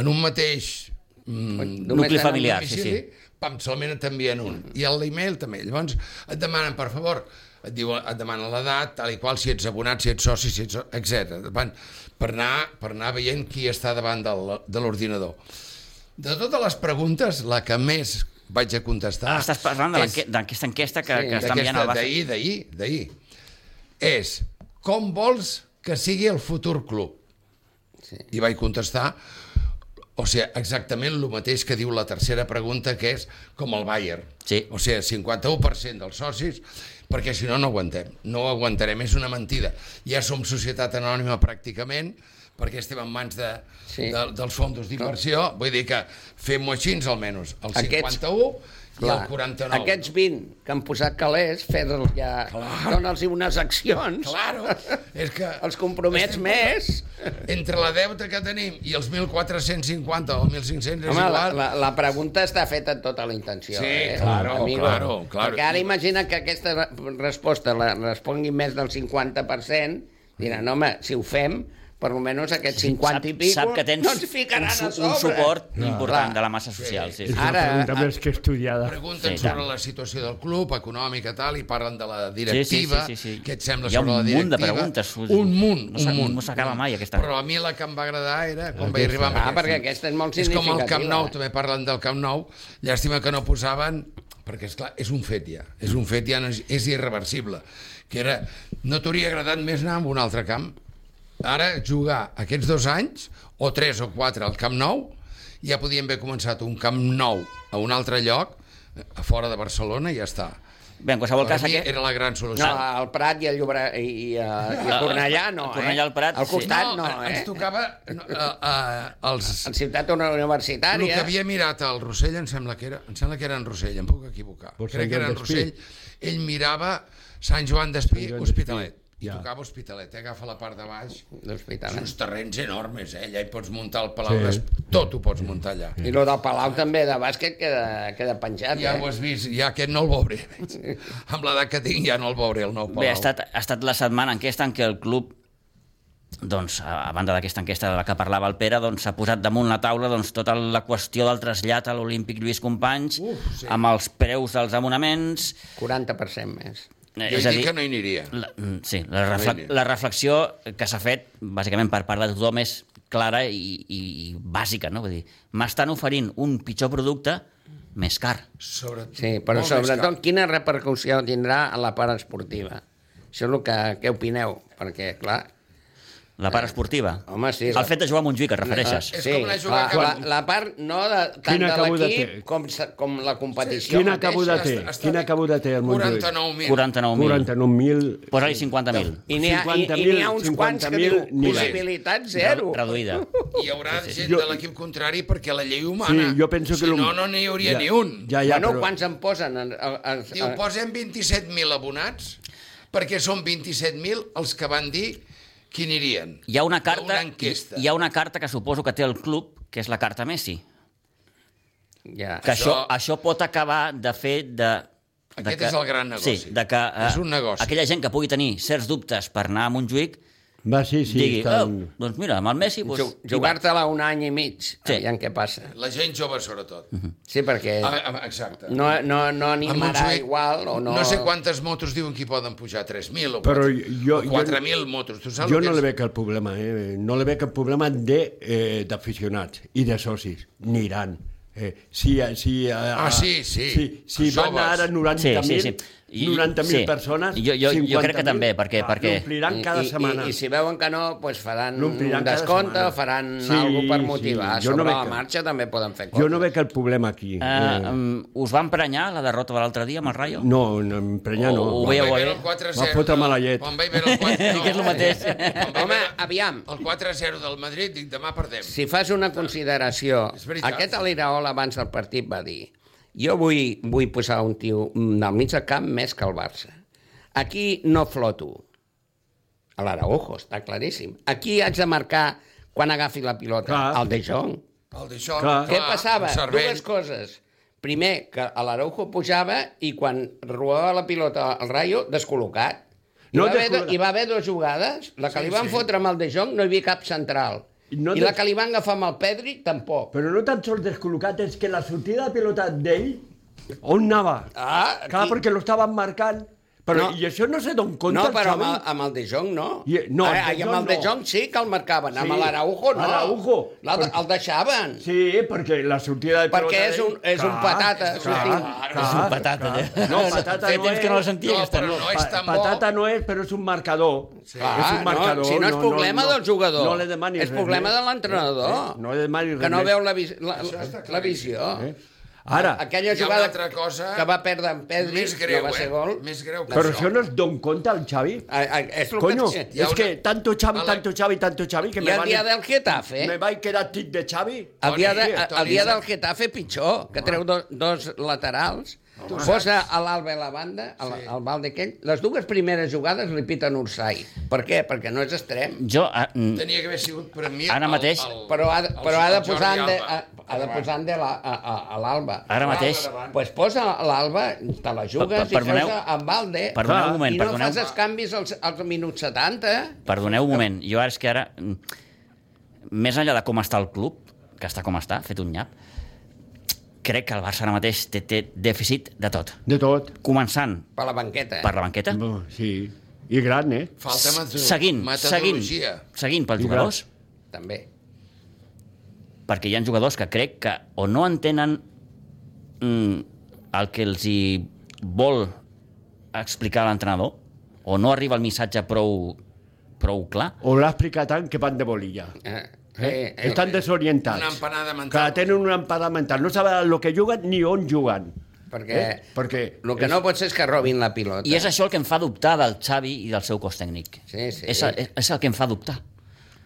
[SPEAKER 2] en un mateix mm,
[SPEAKER 3] Només
[SPEAKER 1] Nucli
[SPEAKER 3] tenen
[SPEAKER 1] familiar, sí, sí.
[SPEAKER 2] pam, solament t'envien un. I a l'e-mail també. Llavors et demanen, per favor, et, diu, et demanen l'edat, tal i qual, si ets abonat, si ets soci, si ets... etc. Van, per, anar, per anar veient qui està davant del, de l'ordinador. De totes les preguntes, la que més vaig a contestar...
[SPEAKER 1] Estàs parlant de
[SPEAKER 2] és-
[SPEAKER 1] l'enque- d'aquesta enquesta que,
[SPEAKER 3] Sí,
[SPEAKER 1] que està enviant
[SPEAKER 2] d'aquesta
[SPEAKER 1] el Barça.
[SPEAKER 2] D'ahir, d'ahir, d'ahir. És, com vols que sigui el futur club?
[SPEAKER 3] Sí.
[SPEAKER 2] I vaig contestar, o sigui, exactament el mateix que diu la tercera pregunta, que és com el Bayern.
[SPEAKER 1] Sí.
[SPEAKER 2] O sigui, 51% dels socis perquè si no, no aguantem. No ho aguantarem, és una mentida. Ja som societat anònima pràcticament, perquè estem en mans de,
[SPEAKER 3] Sí.
[SPEAKER 2] sí. de, dels fondos d'inversió, vull dir que fem-ho així almenys, el
[SPEAKER 3] Aquests-
[SPEAKER 2] 51 i el
[SPEAKER 3] Clar,
[SPEAKER 2] 49.
[SPEAKER 3] Aquests 20 que han posat calés, fer-los ja... Dóna'ls unes accions.
[SPEAKER 2] Claro, és que...
[SPEAKER 3] Els compromets
[SPEAKER 2] estem-
[SPEAKER 3] més.
[SPEAKER 2] Entre la deuta que tenim i els 1.450 o 1.500 és
[SPEAKER 3] Home, la,
[SPEAKER 2] igual.
[SPEAKER 3] la, la pregunta està feta amb tota la intenció.
[SPEAKER 2] Sí,
[SPEAKER 3] eh?
[SPEAKER 2] claro, claro, claro.
[SPEAKER 3] Perquè ara imagina que aquesta re- resposta la respongui més del 50%, diran, home, si ho fem, per almenys aquests 50 i pico
[SPEAKER 1] sap que tens
[SPEAKER 3] no ens
[SPEAKER 1] un,
[SPEAKER 3] ficaran
[SPEAKER 1] su-
[SPEAKER 3] a sobre.
[SPEAKER 1] un suport
[SPEAKER 3] Clar.
[SPEAKER 1] important de la massa social. Sí,
[SPEAKER 4] És
[SPEAKER 1] sí.
[SPEAKER 4] una
[SPEAKER 3] Ara-
[SPEAKER 4] pregunta més que estudiada.
[SPEAKER 2] Pregunten
[SPEAKER 1] Sí,
[SPEAKER 2] sí, sobre
[SPEAKER 1] tant.
[SPEAKER 2] la situació del club, econòmica, tal, i parlen de la directiva.
[SPEAKER 1] Sí, sí, sí, sí, sí.
[SPEAKER 2] Què et sembla
[SPEAKER 1] Hi ha
[SPEAKER 2] sobre la
[SPEAKER 1] un
[SPEAKER 2] directiva?
[SPEAKER 1] munt de preguntes, Susi.
[SPEAKER 2] Un munt,
[SPEAKER 1] No s'ha-
[SPEAKER 2] un munt.
[SPEAKER 1] no s'acaba mai, aquesta.
[SPEAKER 2] Però a mi la que em va agradar era quan vaig arribar... amb
[SPEAKER 3] Ah, perquè aquesta és molt eh?
[SPEAKER 2] És com el
[SPEAKER 3] significativa.
[SPEAKER 2] Camp Nou, també parlen del Camp Nou. Llàstima que no posaven perquè és clar, és un fet ja, és un fet ja, no és, és irreversible, que era no t'hauria agradat més anar a un altre camp ara jugar aquests dos anys o tres o quatre al Camp Nou ja podíem haver començat un Camp Nou a un altre lloc a fora de Barcelona i ja està
[SPEAKER 1] Bé, en qualsevol
[SPEAKER 2] per
[SPEAKER 1] cas,
[SPEAKER 2] mi
[SPEAKER 1] aquest...
[SPEAKER 2] era la gran
[SPEAKER 3] No,
[SPEAKER 2] solució
[SPEAKER 3] al Prat i al Llobre... I, i, a, i a
[SPEAKER 1] Ah,
[SPEAKER 3] Cornellà no,
[SPEAKER 1] a Cornellà,
[SPEAKER 3] eh?
[SPEAKER 1] al Prat,
[SPEAKER 3] Al
[SPEAKER 1] sí.
[SPEAKER 3] costat no, eh?
[SPEAKER 2] ens tocava no, a, a, als,
[SPEAKER 3] En ciutat una
[SPEAKER 2] El que
[SPEAKER 3] universitària...
[SPEAKER 2] havia mirat al Rossell em sembla que era, em sembla que era en Rossell, em puc equivocar.
[SPEAKER 4] Pot ser
[SPEAKER 2] Crec que era en
[SPEAKER 4] Joan Despí.
[SPEAKER 2] Rossell. Ell mirava Sant Joan d'Espí,
[SPEAKER 4] Sant Joan d'Espí,
[SPEAKER 2] Hospitalet. I
[SPEAKER 4] ja.
[SPEAKER 2] tocava Hospitalet, eh? agafa la part de baix. Són
[SPEAKER 3] L'hospital. eh?
[SPEAKER 2] uns terrenys enormes, eh? Allà hi pots muntar el Palau
[SPEAKER 4] Sí.
[SPEAKER 2] sí. d'Espí. Tot ho pots muntar allà.
[SPEAKER 3] I lo del Palau també de bàsquet queda, queda penjat,
[SPEAKER 2] Ja ho
[SPEAKER 3] eh?
[SPEAKER 2] has vist, ja aquest no el veuré. Amb l'edat que tinc ja no el veuré, el nou Palau.
[SPEAKER 1] Bé, ha estat, ha estat la setmana enquesta en què el club doncs, a a banda d'aquesta enquesta de la que parlava el Pere, doncs s'ha posat damunt la taula doncs, tota la qüestió del trasllat a l'Olímpic Lluís Companys, Uf, sí. amb els preus dels abonaments...
[SPEAKER 3] 40% més.
[SPEAKER 1] eh,
[SPEAKER 2] Jo
[SPEAKER 1] és
[SPEAKER 2] és
[SPEAKER 1] a
[SPEAKER 2] dic
[SPEAKER 1] dir,
[SPEAKER 2] que no hi aniria.
[SPEAKER 1] la, mm, sí, la, refle
[SPEAKER 2] Vinga.
[SPEAKER 1] la reflexió que s'ha fet, bàsicament per part de tothom, és clara i, i, i bàsica. No? Vull dir, m'estan oferint un pitjor producte més car.
[SPEAKER 2] Sobretot,
[SPEAKER 3] Sí, però
[SPEAKER 2] molt més
[SPEAKER 3] sobretot quina repercussió tindrà a la part esportiva? Això és el que, què opineu, perquè, clar...
[SPEAKER 1] La part esportiva.
[SPEAKER 3] Home, sí, la-
[SPEAKER 1] El fet de jugar a Montjuïc, et refereixes.
[SPEAKER 2] Ah, És com anar a
[SPEAKER 3] eh, la,
[SPEAKER 2] jugar a
[SPEAKER 3] la,
[SPEAKER 2] camp.
[SPEAKER 3] la part no de, tant
[SPEAKER 4] Quina
[SPEAKER 3] de
[SPEAKER 4] cabuda
[SPEAKER 3] l'equip
[SPEAKER 4] té?
[SPEAKER 3] com, se- com la competició
[SPEAKER 4] Quina
[SPEAKER 3] mateixa.
[SPEAKER 4] cabuda
[SPEAKER 2] car.
[SPEAKER 4] té?
[SPEAKER 2] Està- està-
[SPEAKER 4] Quina cabuda té el Montjuïc?
[SPEAKER 2] 49.000.
[SPEAKER 1] 49.000.
[SPEAKER 4] 49.000...
[SPEAKER 1] Posa-li 50.000.
[SPEAKER 3] I n'hi ha, i, i
[SPEAKER 4] 50.000,
[SPEAKER 3] n'hi ha uns quants que
[SPEAKER 4] 50.000
[SPEAKER 3] diu
[SPEAKER 4] ni
[SPEAKER 2] res.
[SPEAKER 3] possibilitat zero.
[SPEAKER 1] Reduïda.
[SPEAKER 2] Hi haurà gent
[SPEAKER 4] Jo-
[SPEAKER 2] de l'equip contrari perquè la llei
[SPEAKER 4] Sí,
[SPEAKER 2] humana...
[SPEAKER 4] jo penso que...
[SPEAKER 2] si
[SPEAKER 4] lo-
[SPEAKER 2] no, no n'hi hauria
[SPEAKER 4] ja,
[SPEAKER 2] ni un.
[SPEAKER 4] Ja, Ah. ja,
[SPEAKER 3] bueno,
[SPEAKER 4] però...
[SPEAKER 3] quants en posen? En, en, en,
[SPEAKER 2] Diu, posem 27.000 abonats perquè són 27.000 els que van dir qui anirien.
[SPEAKER 1] Hi ha una
[SPEAKER 2] Hi
[SPEAKER 1] carta,
[SPEAKER 2] ha una enquesta.
[SPEAKER 1] hi ha una carta que suposo que té el club, que és la carta Messi.
[SPEAKER 3] ja.
[SPEAKER 1] Que això,
[SPEAKER 2] Això-
[SPEAKER 1] això pot acabar de fer de... de
[SPEAKER 2] Aquest és el gran negoci.
[SPEAKER 1] Sí, de que, eh,
[SPEAKER 2] És un negoci.
[SPEAKER 1] Aquella gent que pugui tenir certs dubtes per anar a Montjuïc,
[SPEAKER 4] Va, sí,
[SPEAKER 1] sí,
[SPEAKER 4] sí,
[SPEAKER 1] digui,
[SPEAKER 4] estan...
[SPEAKER 1] oh, doncs mira, amb el Messi... Doncs,
[SPEAKER 3] Ju- Jugar-te-la un any i mig, sí. aviam què passa.
[SPEAKER 2] La gent jove, sobretot.
[SPEAKER 4] Mhm.
[SPEAKER 3] Sí, perquè
[SPEAKER 2] Ah, ah, Exacte.
[SPEAKER 3] no, no, no animarà
[SPEAKER 2] Montjuïc,
[SPEAKER 3] igual o no...
[SPEAKER 2] no sé quantes motos diuen que hi poden pujar, 3.000 o
[SPEAKER 4] Però
[SPEAKER 2] 4.000
[SPEAKER 4] jo-
[SPEAKER 2] o 4.000 motos. Tu saps
[SPEAKER 4] Jo
[SPEAKER 2] el
[SPEAKER 4] no
[SPEAKER 2] que
[SPEAKER 4] li
[SPEAKER 2] és?
[SPEAKER 4] veig el problema, eh? No li veig el problema de, eh, d'aficionats i de socis. Aniran. Eh, si, si, eh,
[SPEAKER 2] Ah, sí, sí.
[SPEAKER 4] Si, si
[SPEAKER 2] Els
[SPEAKER 4] van
[SPEAKER 2] joves.
[SPEAKER 4] ara 90.000 sí, sí, sí.
[SPEAKER 1] I-
[SPEAKER 4] 90
[SPEAKER 1] sí.
[SPEAKER 4] sí. persones,
[SPEAKER 1] Jo- jo- jo crec que
[SPEAKER 4] 50.000,
[SPEAKER 1] també, perquè-
[SPEAKER 4] ah,
[SPEAKER 1] perquè-
[SPEAKER 4] L'ompliran cada
[SPEAKER 3] I,
[SPEAKER 4] setmana.
[SPEAKER 3] I, I si veuen que no, doncs faran un
[SPEAKER 4] L'ompliran cada
[SPEAKER 3] descompte,
[SPEAKER 4] setmana.
[SPEAKER 3] faran
[SPEAKER 4] Sí,
[SPEAKER 3] sí, alguna per
[SPEAKER 4] sí,
[SPEAKER 3] motivar. Sí,
[SPEAKER 4] jo no
[SPEAKER 3] Sobre no
[SPEAKER 4] veig
[SPEAKER 3] la
[SPEAKER 4] que-
[SPEAKER 3] marxa també poden fer coses.
[SPEAKER 4] Jo no veig el problema aquí. eh,
[SPEAKER 1] Uh, us va emprenyar la derrota de l'altre dia amb el Rayo?
[SPEAKER 4] no, no, em prenya no.
[SPEAKER 1] Ho
[SPEAKER 2] Quan
[SPEAKER 1] veieu,
[SPEAKER 2] vaig veure
[SPEAKER 1] eh?
[SPEAKER 2] el 4-0
[SPEAKER 4] Va fotre
[SPEAKER 2] del-
[SPEAKER 4] mala llet.
[SPEAKER 2] Quan vaig veure el 4 no,
[SPEAKER 1] Que és lo mateix.
[SPEAKER 2] Quan vaig
[SPEAKER 3] Home,
[SPEAKER 2] veure
[SPEAKER 3] aviam.
[SPEAKER 2] El 4-0 del Madrid, dic, demà perdem.
[SPEAKER 3] Si fas una consideració...
[SPEAKER 2] És veritat.
[SPEAKER 3] Aquest Aliraol abans del partit va dir jo vull, vull posar un tio del mig del camp més que el Barça. Aquí no floto. A l'Araujo, està claríssim. Aquí haig de marcar quan agafi la pilota,
[SPEAKER 4] Clar.
[SPEAKER 3] el De Jong.
[SPEAKER 2] El d'això,
[SPEAKER 4] Clar.
[SPEAKER 3] Què passava?
[SPEAKER 2] el cervell.
[SPEAKER 3] Dues coses. Primer, que a l'Araujo pujava i quan robava la pilota al Rayo, descol·locat. Hi,
[SPEAKER 4] No,
[SPEAKER 3] va haver, do-
[SPEAKER 4] descol·locat.
[SPEAKER 3] hi va haver dues jugades. La que
[SPEAKER 2] Sí,
[SPEAKER 3] sí, li van
[SPEAKER 2] sí.
[SPEAKER 3] sí. fotre amb el De Jong no hi havia cap central.
[SPEAKER 4] I
[SPEAKER 3] No
[SPEAKER 4] no
[SPEAKER 3] I la
[SPEAKER 4] des-
[SPEAKER 3] que li van agafar amb el Pedri, tampoc.
[SPEAKER 4] Però no tan sols descol·locat, és que la sortida de pilota d'ell, on anava?
[SPEAKER 3] Ah,
[SPEAKER 4] Clar,
[SPEAKER 3] aquí-
[SPEAKER 4] perquè lo estaven marcant. Però,
[SPEAKER 3] No.
[SPEAKER 4] I això no se don compte.
[SPEAKER 3] No,
[SPEAKER 4] el
[SPEAKER 3] però amb el,
[SPEAKER 4] Xavi.
[SPEAKER 3] amb el De Jong no.
[SPEAKER 4] I- no, el
[SPEAKER 3] ah,
[SPEAKER 4] De
[SPEAKER 3] i amb
[SPEAKER 4] Jong
[SPEAKER 3] el De
[SPEAKER 4] no.
[SPEAKER 3] Jong sí que el marcaven, amb
[SPEAKER 4] Sí.
[SPEAKER 3] l'Araujo no.
[SPEAKER 4] Araujo.
[SPEAKER 3] L'altre- El deixaven.
[SPEAKER 4] Sí, perquè la sortida de
[SPEAKER 3] Perquè és
[SPEAKER 4] d'ell-
[SPEAKER 3] un- és un patata, sortint.
[SPEAKER 1] És un patata, allò.
[SPEAKER 4] No, patata
[SPEAKER 1] Feia
[SPEAKER 4] no
[SPEAKER 1] temps
[SPEAKER 4] és.
[SPEAKER 1] que no la sentia,
[SPEAKER 2] No,
[SPEAKER 1] aquesta,
[SPEAKER 2] però
[SPEAKER 1] no?
[SPEAKER 2] no és tan bo.
[SPEAKER 4] patata no és, però és un marcador. Sí.
[SPEAKER 3] Clar,
[SPEAKER 4] és
[SPEAKER 3] Ah,
[SPEAKER 4] un
[SPEAKER 3] no,
[SPEAKER 4] marcador.
[SPEAKER 3] si no és problema del jugador,
[SPEAKER 4] No li demanis
[SPEAKER 3] és problema
[SPEAKER 4] res més.
[SPEAKER 3] de l'entrenador.
[SPEAKER 4] Eh, No li demanis
[SPEAKER 3] Que
[SPEAKER 4] res
[SPEAKER 3] no
[SPEAKER 4] més.
[SPEAKER 3] veu la, vis la, la, la visió. Ah,
[SPEAKER 4] Eh? Ara,
[SPEAKER 3] Aquella
[SPEAKER 2] Hi ha una
[SPEAKER 3] jugada
[SPEAKER 2] altra cosa
[SPEAKER 3] que va perdre en Pedri,
[SPEAKER 2] més greu,
[SPEAKER 3] no va ser
[SPEAKER 2] eh?
[SPEAKER 3] gol.
[SPEAKER 2] Més greu que
[SPEAKER 4] però això no es don compte al Xavi?
[SPEAKER 3] A, a, és Ah, el
[SPEAKER 4] Coño,
[SPEAKER 3] que...
[SPEAKER 2] hi ha
[SPEAKER 4] és
[SPEAKER 2] una-
[SPEAKER 4] que tanto Xavi,
[SPEAKER 2] Ale-
[SPEAKER 4] tanto Xavi, tanto Xavi, que
[SPEAKER 3] I
[SPEAKER 4] me
[SPEAKER 3] el dia
[SPEAKER 4] van...
[SPEAKER 3] del Getafe, eh?
[SPEAKER 4] Me eh, vaig quedar tit de Xavi.
[SPEAKER 3] el dia, de,
[SPEAKER 2] Toni,
[SPEAKER 3] el
[SPEAKER 2] Toni,
[SPEAKER 3] dia
[SPEAKER 2] Toni.
[SPEAKER 3] del Getafe pitjor, que treu do, dos laterals, posa a l'Alba i la banda, al, sí. al balde aquell, les dues primeres jugades li piten Ursai. Per què? Perquè no és extrem.
[SPEAKER 1] Jo, a, mm,
[SPEAKER 2] Tenia que haver sigut premiat
[SPEAKER 1] Ara mateix-
[SPEAKER 3] Però ha, de-
[SPEAKER 2] el-
[SPEAKER 3] però ha de
[SPEAKER 2] el Jordi
[SPEAKER 3] posar en de,
[SPEAKER 2] Alba.
[SPEAKER 3] ha, ha de posar en de la, a, a, a l'Alba.
[SPEAKER 1] ara mateix...
[SPEAKER 3] Doncs pues posa l'Alba, te la jugues
[SPEAKER 1] Per- per- perdoneu-
[SPEAKER 3] i fes amb balde.
[SPEAKER 1] perdoneu un moment,
[SPEAKER 3] I no
[SPEAKER 1] perdoneu.
[SPEAKER 3] fas els canvis als, als minuts 70.
[SPEAKER 1] Perdoneu un moment, jo ara és que ara... mm, Més enllà de com està el club, que està com està, fet un nyap, crec que el Barça ara mateix té, té dèficit de tot.
[SPEAKER 4] De tot.
[SPEAKER 1] Començant
[SPEAKER 3] Per la banqueta. eh,
[SPEAKER 1] per la banqueta,
[SPEAKER 4] Bo, Sí. I gran, eh?
[SPEAKER 2] Falta meto-
[SPEAKER 1] seguint, seguint,
[SPEAKER 2] metodologia.
[SPEAKER 1] seguint pels
[SPEAKER 4] I
[SPEAKER 1] jugadors,
[SPEAKER 3] També.
[SPEAKER 1] perquè hi ha jugadors que crec que o no entenen mm, el que els hi vol explicar l'entrenador, o no arriba el missatge prou, prou clar,
[SPEAKER 4] O l'ha explicat tant que van de bolilla.
[SPEAKER 3] Eh,
[SPEAKER 4] Eh, Estan desorientats.
[SPEAKER 2] Una empanada mental.
[SPEAKER 4] Clar, tenen una empanada mental. No saben el que juguen ni on juguen.
[SPEAKER 3] Perquè,
[SPEAKER 4] Eh? Perquè
[SPEAKER 3] el que no pot ser és que robin la pilota.
[SPEAKER 1] I és això el que em fa dubtar del Xavi i del seu cos tècnic.
[SPEAKER 3] Sí, sí.
[SPEAKER 1] És, el- és el que em fa dubtar.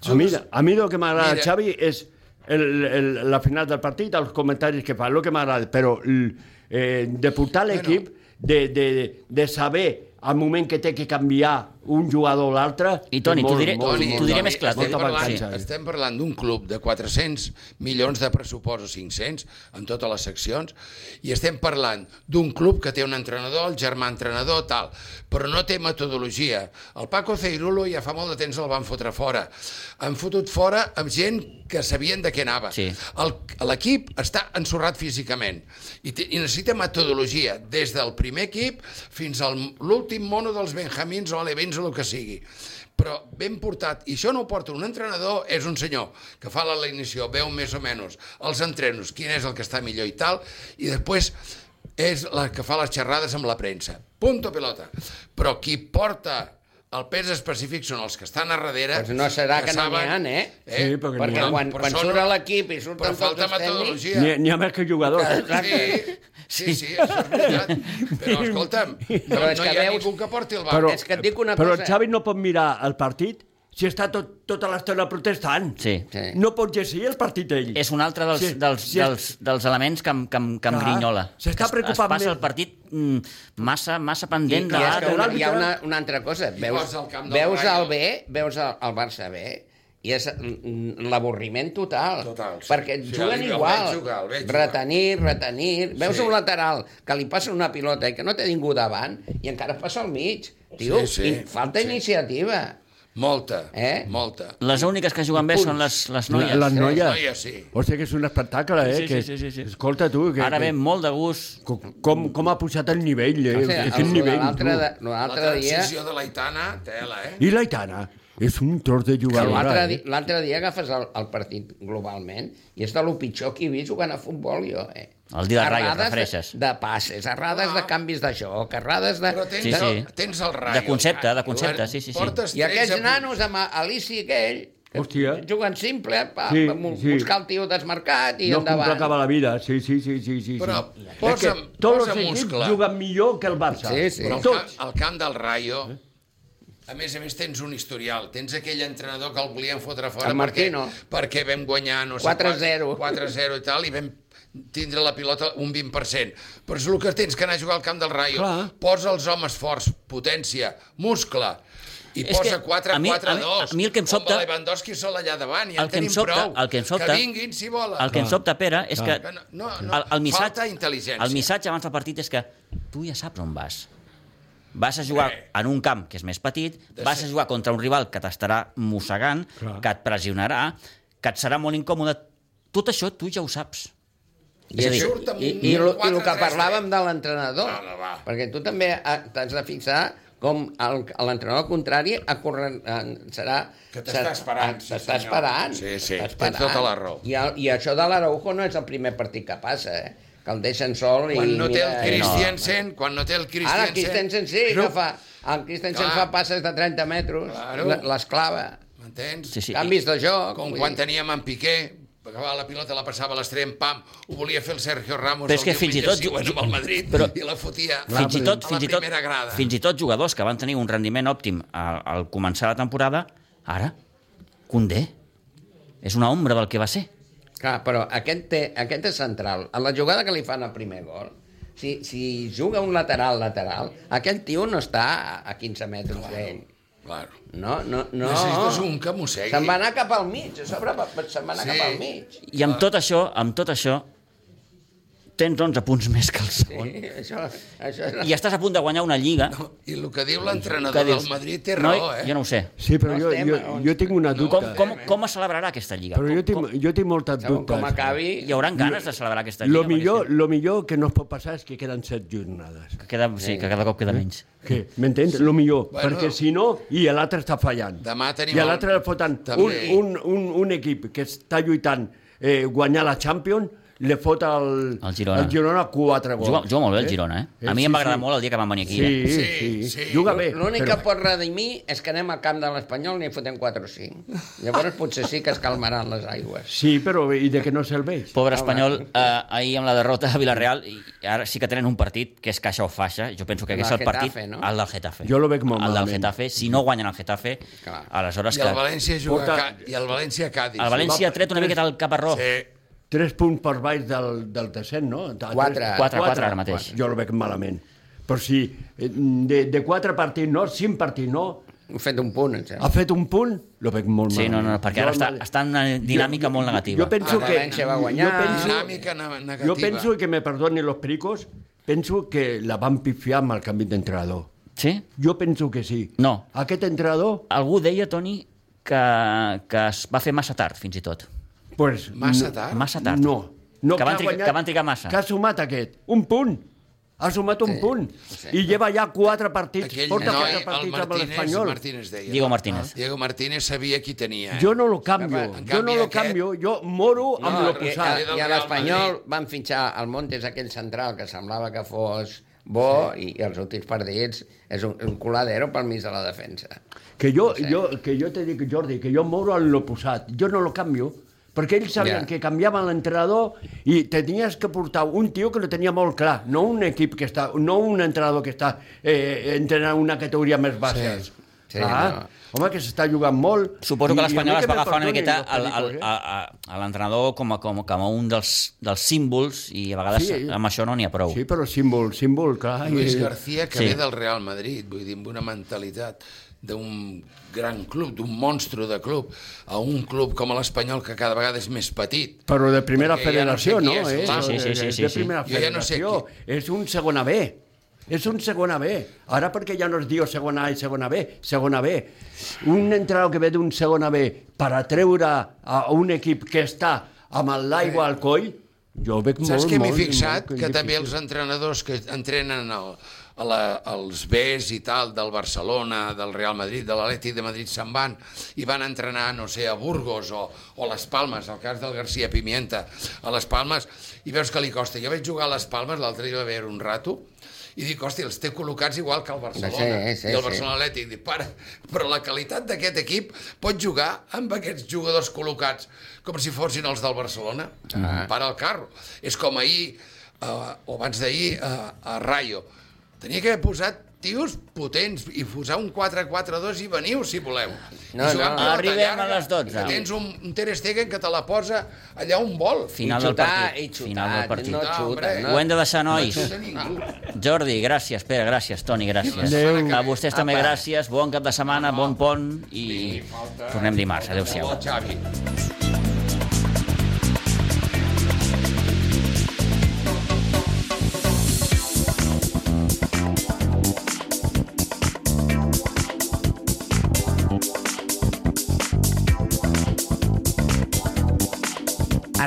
[SPEAKER 4] A mi, a mi el que m'agrada,
[SPEAKER 2] Mira.
[SPEAKER 4] Xavi, és el, el, la final del partit, els comentaris que fa, el que m'agrada, però l- eh, de portar l'equip, de, de, de saber al moment que té que canviar un jugador o l'altre...
[SPEAKER 1] I, Toni,
[SPEAKER 4] és
[SPEAKER 1] t'ho
[SPEAKER 4] molt,
[SPEAKER 1] diré-
[SPEAKER 4] molt,
[SPEAKER 1] t'ho eh?
[SPEAKER 4] molt.
[SPEAKER 1] diré més clar,
[SPEAKER 2] Estem
[SPEAKER 4] molta eh?
[SPEAKER 2] parlant,
[SPEAKER 4] mancança.
[SPEAKER 2] estem parlant d'un club de 400 milions de pressupost o 500 en totes les seccions i estem parlant d'un club que té un entrenador, el germà entrenador, tal, però no té metodologia. El Paco Ceirulo ja fa molt de temps el van fotre fora. Han fotut fora amb gent que sabien de què anava.
[SPEAKER 1] Sí.
[SPEAKER 2] El- L'equip està ensorrat físicament i, té- i necessita metodologia des del primer equip fins al l'últim mono dels Benjamins o Alevins o el que sigui. Però ben portat, i això no ho porta un entrenador, és un senyor que fa la alineació, veu més o menys els entrenos, quin és el que està millor i tal, i després és la que fa les xerrades amb la premsa. Punto pelota. Però qui porta el pes específic són els que estan a darrere...
[SPEAKER 3] Doncs no serà que no n'hi
[SPEAKER 2] saben-
[SPEAKER 3] han, eh?
[SPEAKER 4] Sí, perquè n'hi
[SPEAKER 3] Perquè
[SPEAKER 4] ha.
[SPEAKER 3] quan,
[SPEAKER 2] Però
[SPEAKER 3] quan
[SPEAKER 2] són-
[SPEAKER 3] surt a l'equip i surten
[SPEAKER 2] Però falta
[SPEAKER 3] tots els tècnics...
[SPEAKER 2] metodologia.
[SPEAKER 4] N'hi ha- N'hi ha més que jugadors.
[SPEAKER 2] Sí, sí, sí, això és veritat. Però escolta'm, no,
[SPEAKER 3] Però és
[SPEAKER 2] no
[SPEAKER 3] que
[SPEAKER 2] hi ha
[SPEAKER 3] veus-
[SPEAKER 2] ningú que porti el bar.
[SPEAKER 4] Però,
[SPEAKER 3] És que et dic una
[SPEAKER 4] però
[SPEAKER 3] cosa.
[SPEAKER 4] el Xavi no pot mirar el partit si està tot, tota l'estona protestant.
[SPEAKER 1] Sí.
[SPEAKER 3] Sí.
[SPEAKER 4] No pot llegir el partit ell.
[SPEAKER 1] És un altre dels,
[SPEAKER 4] Sí,
[SPEAKER 1] dels,
[SPEAKER 4] sí.
[SPEAKER 1] dels, dels elements que, em- que, em- que em
[SPEAKER 4] Clar,
[SPEAKER 1] grinyola.
[SPEAKER 4] s'està
[SPEAKER 1] Que es-
[SPEAKER 4] preocupant
[SPEAKER 1] Es passa
[SPEAKER 4] més.
[SPEAKER 1] el partit mm, massa, massa
[SPEAKER 3] I,
[SPEAKER 1] pendent
[SPEAKER 3] i
[SPEAKER 1] de
[SPEAKER 3] és que
[SPEAKER 1] l'altre.
[SPEAKER 3] una, hi ha una, una altra cosa. Veus,
[SPEAKER 2] vas al camp del
[SPEAKER 3] veus
[SPEAKER 2] Rayo.
[SPEAKER 3] el B, veus el, el Barça B, i és mm, l'avorriment total.
[SPEAKER 2] Total, sí.
[SPEAKER 3] Perquè
[SPEAKER 2] Sí, el-
[SPEAKER 3] juguen
[SPEAKER 2] el
[SPEAKER 3] igual.
[SPEAKER 2] veig jugar, el veig jugar.
[SPEAKER 3] retenir, retenir. Veus
[SPEAKER 2] Sí.
[SPEAKER 3] un lateral que li passa una pilota i que no té ningú davant i encara passa al mig. Tio,
[SPEAKER 2] Sí, sí,
[SPEAKER 3] i falta
[SPEAKER 2] sí.
[SPEAKER 3] iniciativa.
[SPEAKER 2] Molta,
[SPEAKER 3] Eh?
[SPEAKER 2] molta.
[SPEAKER 1] Les úniques que juguen bé són les, les noies.
[SPEAKER 4] Les noies.
[SPEAKER 2] Les noies, sí.
[SPEAKER 4] Hòstia, que és un espectacle, eh?
[SPEAKER 1] Sí, sí,
[SPEAKER 4] que,
[SPEAKER 1] sí, sí, sí.
[SPEAKER 4] Escolta, tu... Que,
[SPEAKER 1] Ara
[SPEAKER 4] que-
[SPEAKER 1] ve molt de gust.
[SPEAKER 4] Co- Com, com ha pujat el nivell, eh?
[SPEAKER 3] O
[SPEAKER 4] O
[SPEAKER 3] sigui,
[SPEAKER 4] sigui,
[SPEAKER 3] el-
[SPEAKER 4] Quin nivell,
[SPEAKER 3] l'altre
[SPEAKER 4] tu.
[SPEAKER 3] de-
[SPEAKER 2] La
[SPEAKER 3] L'altre dia...
[SPEAKER 2] transició de l'Aitana, tela, eh?
[SPEAKER 4] I l'Aitana és un tros de
[SPEAKER 3] Que
[SPEAKER 4] jugadora,
[SPEAKER 3] L'altre
[SPEAKER 4] eh?
[SPEAKER 3] di- l'altre dia agafes el, el partit globalment i és de lo pitjor que he vist jugant a futbol jo, eh?
[SPEAKER 1] El dia de Rayo, et
[SPEAKER 3] Errades
[SPEAKER 1] refereixes.
[SPEAKER 3] De, de passes, errades de canvis de joc, errades de...
[SPEAKER 2] Ah. Però tens,
[SPEAKER 1] Sí,
[SPEAKER 2] sí,
[SPEAKER 1] sí.
[SPEAKER 2] sí. El, tens el raio.
[SPEAKER 1] De concepte, de concepte, sí, sí, sí.
[SPEAKER 2] Portes
[SPEAKER 3] I aquests
[SPEAKER 2] 13
[SPEAKER 3] nanos amb Alici aquell, que
[SPEAKER 4] Hòstia.
[SPEAKER 3] juguen simple, pa,
[SPEAKER 4] Sí,
[SPEAKER 3] sí, mu-
[SPEAKER 4] sí.
[SPEAKER 3] buscar el tio desmarcat i
[SPEAKER 4] No
[SPEAKER 3] endavant.
[SPEAKER 4] complicava la vida, sí, sí, sí, sí, sí.
[SPEAKER 2] Però
[SPEAKER 4] sí. És
[SPEAKER 2] posa-
[SPEAKER 4] que tots
[SPEAKER 2] posa
[SPEAKER 4] els equips
[SPEAKER 2] muscle.
[SPEAKER 4] juguen millor que el Barça.
[SPEAKER 3] Sí, sí.
[SPEAKER 2] Però al camp,
[SPEAKER 4] Tots.
[SPEAKER 2] al camp del Rayo, a més a més, tens un historial. Tens aquell entrenador que el volien fotre fora
[SPEAKER 3] El
[SPEAKER 2] perquè,
[SPEAKER 3] Martino.
[SPEAKER 2] perquè vam guanyar, no sé...
[SPEAKER 3] 4-0.
[SPEAKER 2] 4-0 i tal, i vam tindre la pilota un 20%. Però és el que tens que anar a jugar al camp del Rayo.
[SPEAKER 4] Clar.
[SPEAKER 2] Posa els homes forts, potència, muscle, i
[SPEAKER 1] És
[SPEAKER 2] posa
[SPEAKER 1] que a mi-
[SPEAKER 2] 4-4-2.
[SPEAKER 1] a mi- a mi el que em sobta-
[SPEAKER 2] Amb el Lewandowski sol allà davant, ja
[SPEAKER 1] El
[SPEAKER 2] en
[SPEAKER 1] que, em
[SPEAKER 2] tenim
[SPEAKER 1] sobta,
[SPEAKER 2] prou.
[SPEAKER 1] el que em sobta,
[SPEAKER 2] Que vinguin, si volen.
[SPEAKER 1] el que em sobta, Pere, és que,
[SPEAKER 2] Que no- no, no,
[SPEAKER 1] el, el, missatge,
[SPEAKER 2] falta intel·ligència.
[SPEAKER 1] el missatge abans del partit és que tu ja saps on vas. Vas a jugar
[SPEAKER 2] Eh.
[SPEAKER 1] en un camp que és més petit, vas a jugar contra un rival que t'estarà mossegant,
[SPEAKER 4] Clar.
[SPEAKER 1] que et pressionarà, que et serà molt incòmode. Tot això tu ja ho saps.
[SPEAKER 3] I,
[SPEAKER 1] És a dir,
[SPEAKER 2] surt amb
[SPEAKER 3] i,
[SPEAKER 2] un
[SPEAKER 3] i, lo, i el que
[SPEAKER 2] 4-3-3.
[SPEAKER 3] parlàvem de l'entrenador.
[SPEAKER 2] No, no, va.
[SPEAKER 3] Perquè tu també eh, t'has de fixar com el- l'entrenador contrari a corren, eh, serà...
[SPEAKER 2] Que t'està
[SPEAKER 3] serà-
[SPEAKER 2] esperant,
[SPEAKER 3] eh,
[SPEAKER 2] sí,
[SPEAKER 3] T'està
[SPEAKER 2] senyor.
[SPEAKER 3] esperant.
[SPEAKER 2] Sí, sí,
[SPEAKER 3] t'està
[SPEAKER 2] tens tota la raó.
[SPEAKER 3] I, el, I això de l'Araujo no és el primer partit que passa, eh? Que el deixen sol i...
[SPEAKER 2] Quan no té el
[SPEAKER 1] eh,
[SPEAKER 3] mira,
[SPEAKER 2] Christiansen, quan no té el
[SPEAKER 3] No. Ara
[SPEAKER 2] Christiansen...
[SPEAKER 3] el Christensen sí que fa... El Christensen
[SPEAKER 2] Clar.
[SPEAKER 3] fa passes de 30 metres,
[SPEAKER 2] Claro.
[SPEAKER 3] l- l'esclava.
[SPEAKER 2] M'entens?
[SPEAKER 1] Sí, sí.
[SPEAKER 3] Canvis de joc.
[SPEAKER 2] Com
[SPEAKER 3] vull
[SPEAKER 2] quan
[SPEAKER 3] dir.
[SPEAKER 2] teníem en Piqué, acabava la pilota, la passava a l'extrem, pam, ho volia fer el Sergio Ramos
[SPEAKER 1] Però és que
[SPEAKER 2] el
[SPEAKER 1] fins i
[SPEAKER 2] diumenge
[SPEAKER 1] tot-
[SPEAKER 2] següent amb el Madrid
[SPEAKER 1] però-
[SPEAKER 2] i la fotia
[SPEAKER 1] fins i tot,
[SPEAKER 2] a la
[SPEAKER 1] fins i tot,
[SPEAKER 2] primera grada.
[SPEAKER 1] fins i tot jugadors que van tenir un rendiment òptim al, al començar la temporada, ara, Condé, és una ombra del que va ser.
[SPEAKER 3] Clar, però aquest, té, aquest és central. A la jugada que li fan al primer gol, si, si juga un lateral-lateral, aquell tio no està a- a 15 metres d'ell.
[SPEAKER 2] Claro.
[SPEAKER 3] No, no, no.
[SPEAKER 2] Necessites un que mossegui.
[SPEAKER 3] Se'n va anar cap al mig, a sobre va- se'n va anar
[SPEAKER 2] Sí.
[SPEAKER 3] sí. cap al mig.
[SPEAKER 1] I amb tot això, amb tot això, tens 11 punts més que el segon.
[SPEAKER 3] Sí, això, això és...
[SPEAKER 1] I estàs a punt de guanyar una lliga
[SPEAKER 2] I el que diu l'entrenador
[SPEAKER 1] que dius...
[SPEAKER 2] del Madrid té raó,
[SPEAKER 1] "Noi,
[SPEAKER 2] eh?
[SPEAKER 1] Jo no ho sé.
[SPEAKER 4] Sí, però
[SPEAKER 3] No
[SPEAKER 4] jo,
[SPEAKER 3] estem
[SPEAKER 4] jo,
[SPEAKER 3] a onze.
[SPEAKER 4] jo tinc una dubte.
[SPEAKER 1] Com, com, com es celebrarà aquesta lliga?
[SPEAKER 4] Però jo
[SPEAKER 1] Com-
[SPEAKER 4] tinc, jo tinc moltes
[SPEAKER 3] Segons com
[SPEAKER 4] dubtes.
[SPEAKER 3] acabi...
[SPEAKER 1] com- Hi hauran ganes de celebrar aquesta lliga?
[SPEAKER 4] Lo millor, lo millor que no es pot passar és que queden set jornades.
[SPEAKER 1] Que queda, sí, que cada cop
[SPEAKER 4] Eh?
[SPEAKER 1] queda menys.
[SPEAKER 4] Que, M'entens? Lo millor.
[SPEAKER 2] Bueno.
[SPEAKER 4] Perquè si no, i l'altre està fallant.
[SPEAKER 2] Demà tenim
[SPEAKER 4] I
[SPEAKER 2] el-
[SPEAKER 4] l'altre el foten. Un,
[SPEAKER 2] També.
[SPEAKER 4] un, un, un equip que està lluitant eh, guanyar la Champions, le fot el,
[SPEAKER 1] Al Girona.
[SPEAKER 4] el Girona 4 gols.
[SPEAKER 1] Juga, juga molt bé el Girona, eh? A mi
[SPEAKER 4] sí,
[SPEAKER 1] em va agradar
[SPEAKER 4] sí.
[SPEAKER 1] molt el dia que vam venir aquí.
[SPEAKER 4] Sí,
[SPEAKER 1] eh?
[SPEAKER 4] sí, sí.
[SPEAKER 2] Sí, sí.
[SPEAKER 4] Juga bé.
[SPEAKER 3] L'únic que pot redimir és que anem al camp de l'Espanyol i hi fotem 4 o 5. Llavors potser sí que es calmaran les aigües.
[SPEAKER 4] Sí, però i de que no serveix?
[SPEAKER 1] Pobre espanyol, eh, ahir amb la derrota a Villarreal, i ara sí que tenen un partit que és caixa o faixa. Jo penso que
[SPEAKER 3] El
[SPEAKER 1] és el
[SPEAKER 3] del
[SPEAKER 1] partit,
[SPEAKER 3] Getafe, no?
[SPEAKER 1] el del Getafe.
[SPEAKER 4] Jo lo veig molt
[SPEAKER 1] El del
[SPEAKER 4] malament.
[SPEAKER 1] Getafe, si no guanyen el Getafe,
[SPEAKER 3] Clar.
[SPEAKER 1] aleshores
[SPEAKER 2] I el València juga
[SPEAKER 4] Porta-
[SPEAKER 2] a Ca... i el València a Cádiz.
[SPEAKER 1] el València
[SPEAKER 4] va-
[SPEAKER 1] ha tret una miqueta el caparró.
[SPEAKER 2] Sí.
[SPEAKER 4] Tres punts per baix del, del descent, no? De-
[SPEAKER 3] Quatre.
[SPEAKER 4] tres-
[SPEAKER 1] Quatre, quatre ara mateix.
[SPEAKER 4] Jo el veig malament. Però si eh, de, de quatre partits no, cinc partits no,
[SPEAKER 3] Hem fet un punt, em
[SPEAKER 4] ha
[SPEAKER 3] sembla.
[SPEAKER 4] fet un punt, lo veig molt
[SPEAKER 1] Sí, no,
[SPEAKER 4] malament.
[SPEAKER 1] no, perquè
[SPEAKER 4] Jo
[SPEAKER 1] ara
[SPEAKER 4] el
[SPEAKER 1] està,
[SPEAKER 4] Madrid-
[SPEAKER 1] està en una dinàmica molt negativa.
[SPEAKER 4] Jo penso
[SPEAKER 3] El
[SPEAKER 4] que...
[SPEAKER 3] València va guanyar.
[SPEAKER 4] Jo penso,
[SPEAKER 2] Dinàmica ne- negativa.
[SPEAKER 4] jo penso que me perdonin los pericos, penso que la van pifiar amb el canvi d'entrenador.
[SPEAKER 1] Sí?
[SPEAKER 4] Jo penso que sí.
[SPEAKER 1] No.
[SPEAKER 4] Aquest entrenador,
[SPEAKER 1] Algú deia, Toni, que, que es va fer massa tard, fins i tot.
[SPEAKER 4] pues,
[SPEAKER 2] Massa tard.
[SPEAKER 1] Massa tard.
[SPEAKER 4] No. no
[SPEAKER 1] Que van
[SPEAKER 4] ha
[SPEAKER 1] trigar- que van trigar massa.
[SPEAKER 4] Que ha sumat aquest. Un punt. Ha sumat un
[SPEAKER 3] Sí,
[SPEAKER 4] punt.
[SPEAKER 3] sí.
[SPEAKER 4] I lleva ja quatre partits.
[SPEAKER 2] Aquell
[SPEAKER 4] Porta
[SPEAKER 2] noi,
[SPEAKER 4] quatre
[SPEAKER 2] el
[SPEAKER 4] partits amb
[SPEAKER 2] Martínez,
[SPEAKER 4] l'Espanyol.
[SPEAKER 2] Martínez deia.
[SPEAKER 1] Diego Martínez.
[SPEAKER 2] Diego Martínez sabia qui tenia. Eh?
[SPEAKER 4] Jo no lo canvio.
[SPEAKER 3] En
[SPEAKER 4] jo no
[SPEAKER 2] canvi,
[SPEAKER 4] lo
[SPEAKER 2] aquest-
[SPEAKER 4] canvio. Jo moro amb
[SPEAKER 3] No,
[SPEAKER 4] lo
[SPEAKER 3] i,
[SPEAKER 4] posat.
[SPEAKER 3] i a l'Espanyol van fitxar el Montes, aquell central, que semblava que fos bo, sí. i els últims partits és un, un coladero pel mig de la defensa.
[SPEAKER 4] Que jo,
[SPEAKER 3] Sí.
[SPEAKER 4] jo, que jo te dic, Jordi, que jo moro en lo posat. Jo no lo canvio. Perquè ells sabien
[SPEAKER 3] Ja.
[SPEAKER 4] que canviaven l'entrenador i tenies que portar un tio que lo tenia molt clar, no un equip que està, no un entrenador que està eh, entrenant una categoria més baixa. Ah,
[SPEAKER 2] Sí.
[SPEAKER 3] Sí, no.
[SPEAKER 4] Home, que s'està jugant molt.
[SPEAKER 1] Suposo que
[SPEAKER 4] I- i a
[SPEAKER 1] l'Espanyol
[SPEAKER 4] mi
[SPEAKER 1] es va
[SPEAKER 4] me
[SPEAKER 1] agafar una
[SPEAKER 4] perdonin
[SPEAKER 1] miqueta
[SPEAKER 4] los
[SPEAKER 1] al, al,
[SPEAKER 4] pericos, eh?
[SPEAKER 1] a, a, a l'entrenador com, a, com, com a un dels, dels símbols i a vegades
[SPEAKER 4] Sí.
[SPEAKER 1] sí. amb això no n'hi ha prou.
[SPEAKER 4] Sí, però símbol, símbol, clar.
[SPEAKER 2] Luis
[SPEAKER 4] i-
[SPEAKER 2] García, que
[SPEAKER 1] Sí.
[SPEAKER 2] sí. ve del Real Madrid, vull dir, amb una mentalitat d'un gran club, d'un monstre de club, a un club com l'Espanyol, que cada vegada és més petit.
[SPEAKER 4] Però de primera
[SPEAKER 2] Perquè ja no sé
[SPEAKER 4] federació,
[SPEAKER 2] qui
[SPEAKER 4] no?
[SPEAKER 2] és,
[SPEAKER 4] eh?
[SPEAKER 2] clar.
[SPEAKER 1] Sí, sí, sí, sí,
[SPEAKER 4] de
[SPEAKER 1] sí.
[SPEAKER 4] primera
[SPEAKER 2] Jo ja no sé
[SPEAKER 4] federació. És un segona B. És un segona B. Ara perquè ja no es diu segona A i segona B, segona B. Un entrenador que ve d'un segona B per atreure a un equip que està amb el l'aigua al coll, jo ho veig molt,
[SPEAKER 2] Saps que m'he
[SPEAKER 4] molt,
[SPEAKER 2] fixat?
[SPEAKER 4] molt
[SPEAKER 2] que també els
[SPEAKER 4] difícil.
[SPEAKER 2] entrenadors que entrenen el, a la, els Bs i tal, del Barcelona, del Real Madrid, de l'Atlètic de Madrid, se'n van i van entrenar, no sé, a Burgos o, o Les Palmes, el cas del García Pimienta, a Les Palmes, i veus que li costa. Jo vaig jugar a Les Palmes, l'altre dia va haver un rato, i dic, hòstia, els té col·locats igual que el Barcelona.
[SPEAKER 3] Sí, sí,
[SPEAKER 2] I el
[SPEAKER 3] sí.
[SPEAKER 2] Barcelona Atlètic. Dic, pare, però la qualitat d'aquest equip pot jugar amb aquests jugadors col·locats com si fossin els del Barcelona. Ah. Para el carro. És com ahir, eh, o abans d'ahir, eh, a Rayo. Tenia que haver posat tios potents i posar un 4-4-2 i veniu, si voleu.
[SPEAKER 3] No,
[SPEAKER 2] I jugar
[SPEAKER 3] no.
[SPEAKER 2] amb pilota
[SPEAKER 1] Arribem
[SPEAKER 2] llarga,
[SPEAKER 1] a les 12.
[SPEAKER 2] Que tens un, un Ter Stegen que te la posa allà on vol.
[SPEAKER 1] Final
[SPEAKER 3] I
[SPEAKER 1] del
[SPEAKER 3] xutar,
[SPEAKER 1] partit.
[SPEAKER 3] i xutar,
[SPEAKER 1] Final del partit.
[SPEAKER 3] no xuta.
[SPEAKER 2] Hombre.
[SPEAKER 3] No.
[SPEAKER 1] Ho hem de deixar, nois.
[SPEAKER 2] No ningú.
[SPEAKER 1] Jordi, gràcies, Pere, gràcies, Toni, gràcies.
[SPEAKER 2] Adéu.
[SPEAKER 1] A vostès també
[SPEAKER 3] Apa.
[SPEAKER 1] gràcies, bon cap de setmana, bon pont i
[SPEAKER 2] falta-
[SPEAKER 1] tornem dimarts. Adéu-siau.
[SPEAKER 2] Molt, Xavi.
[SPEAKER 5] A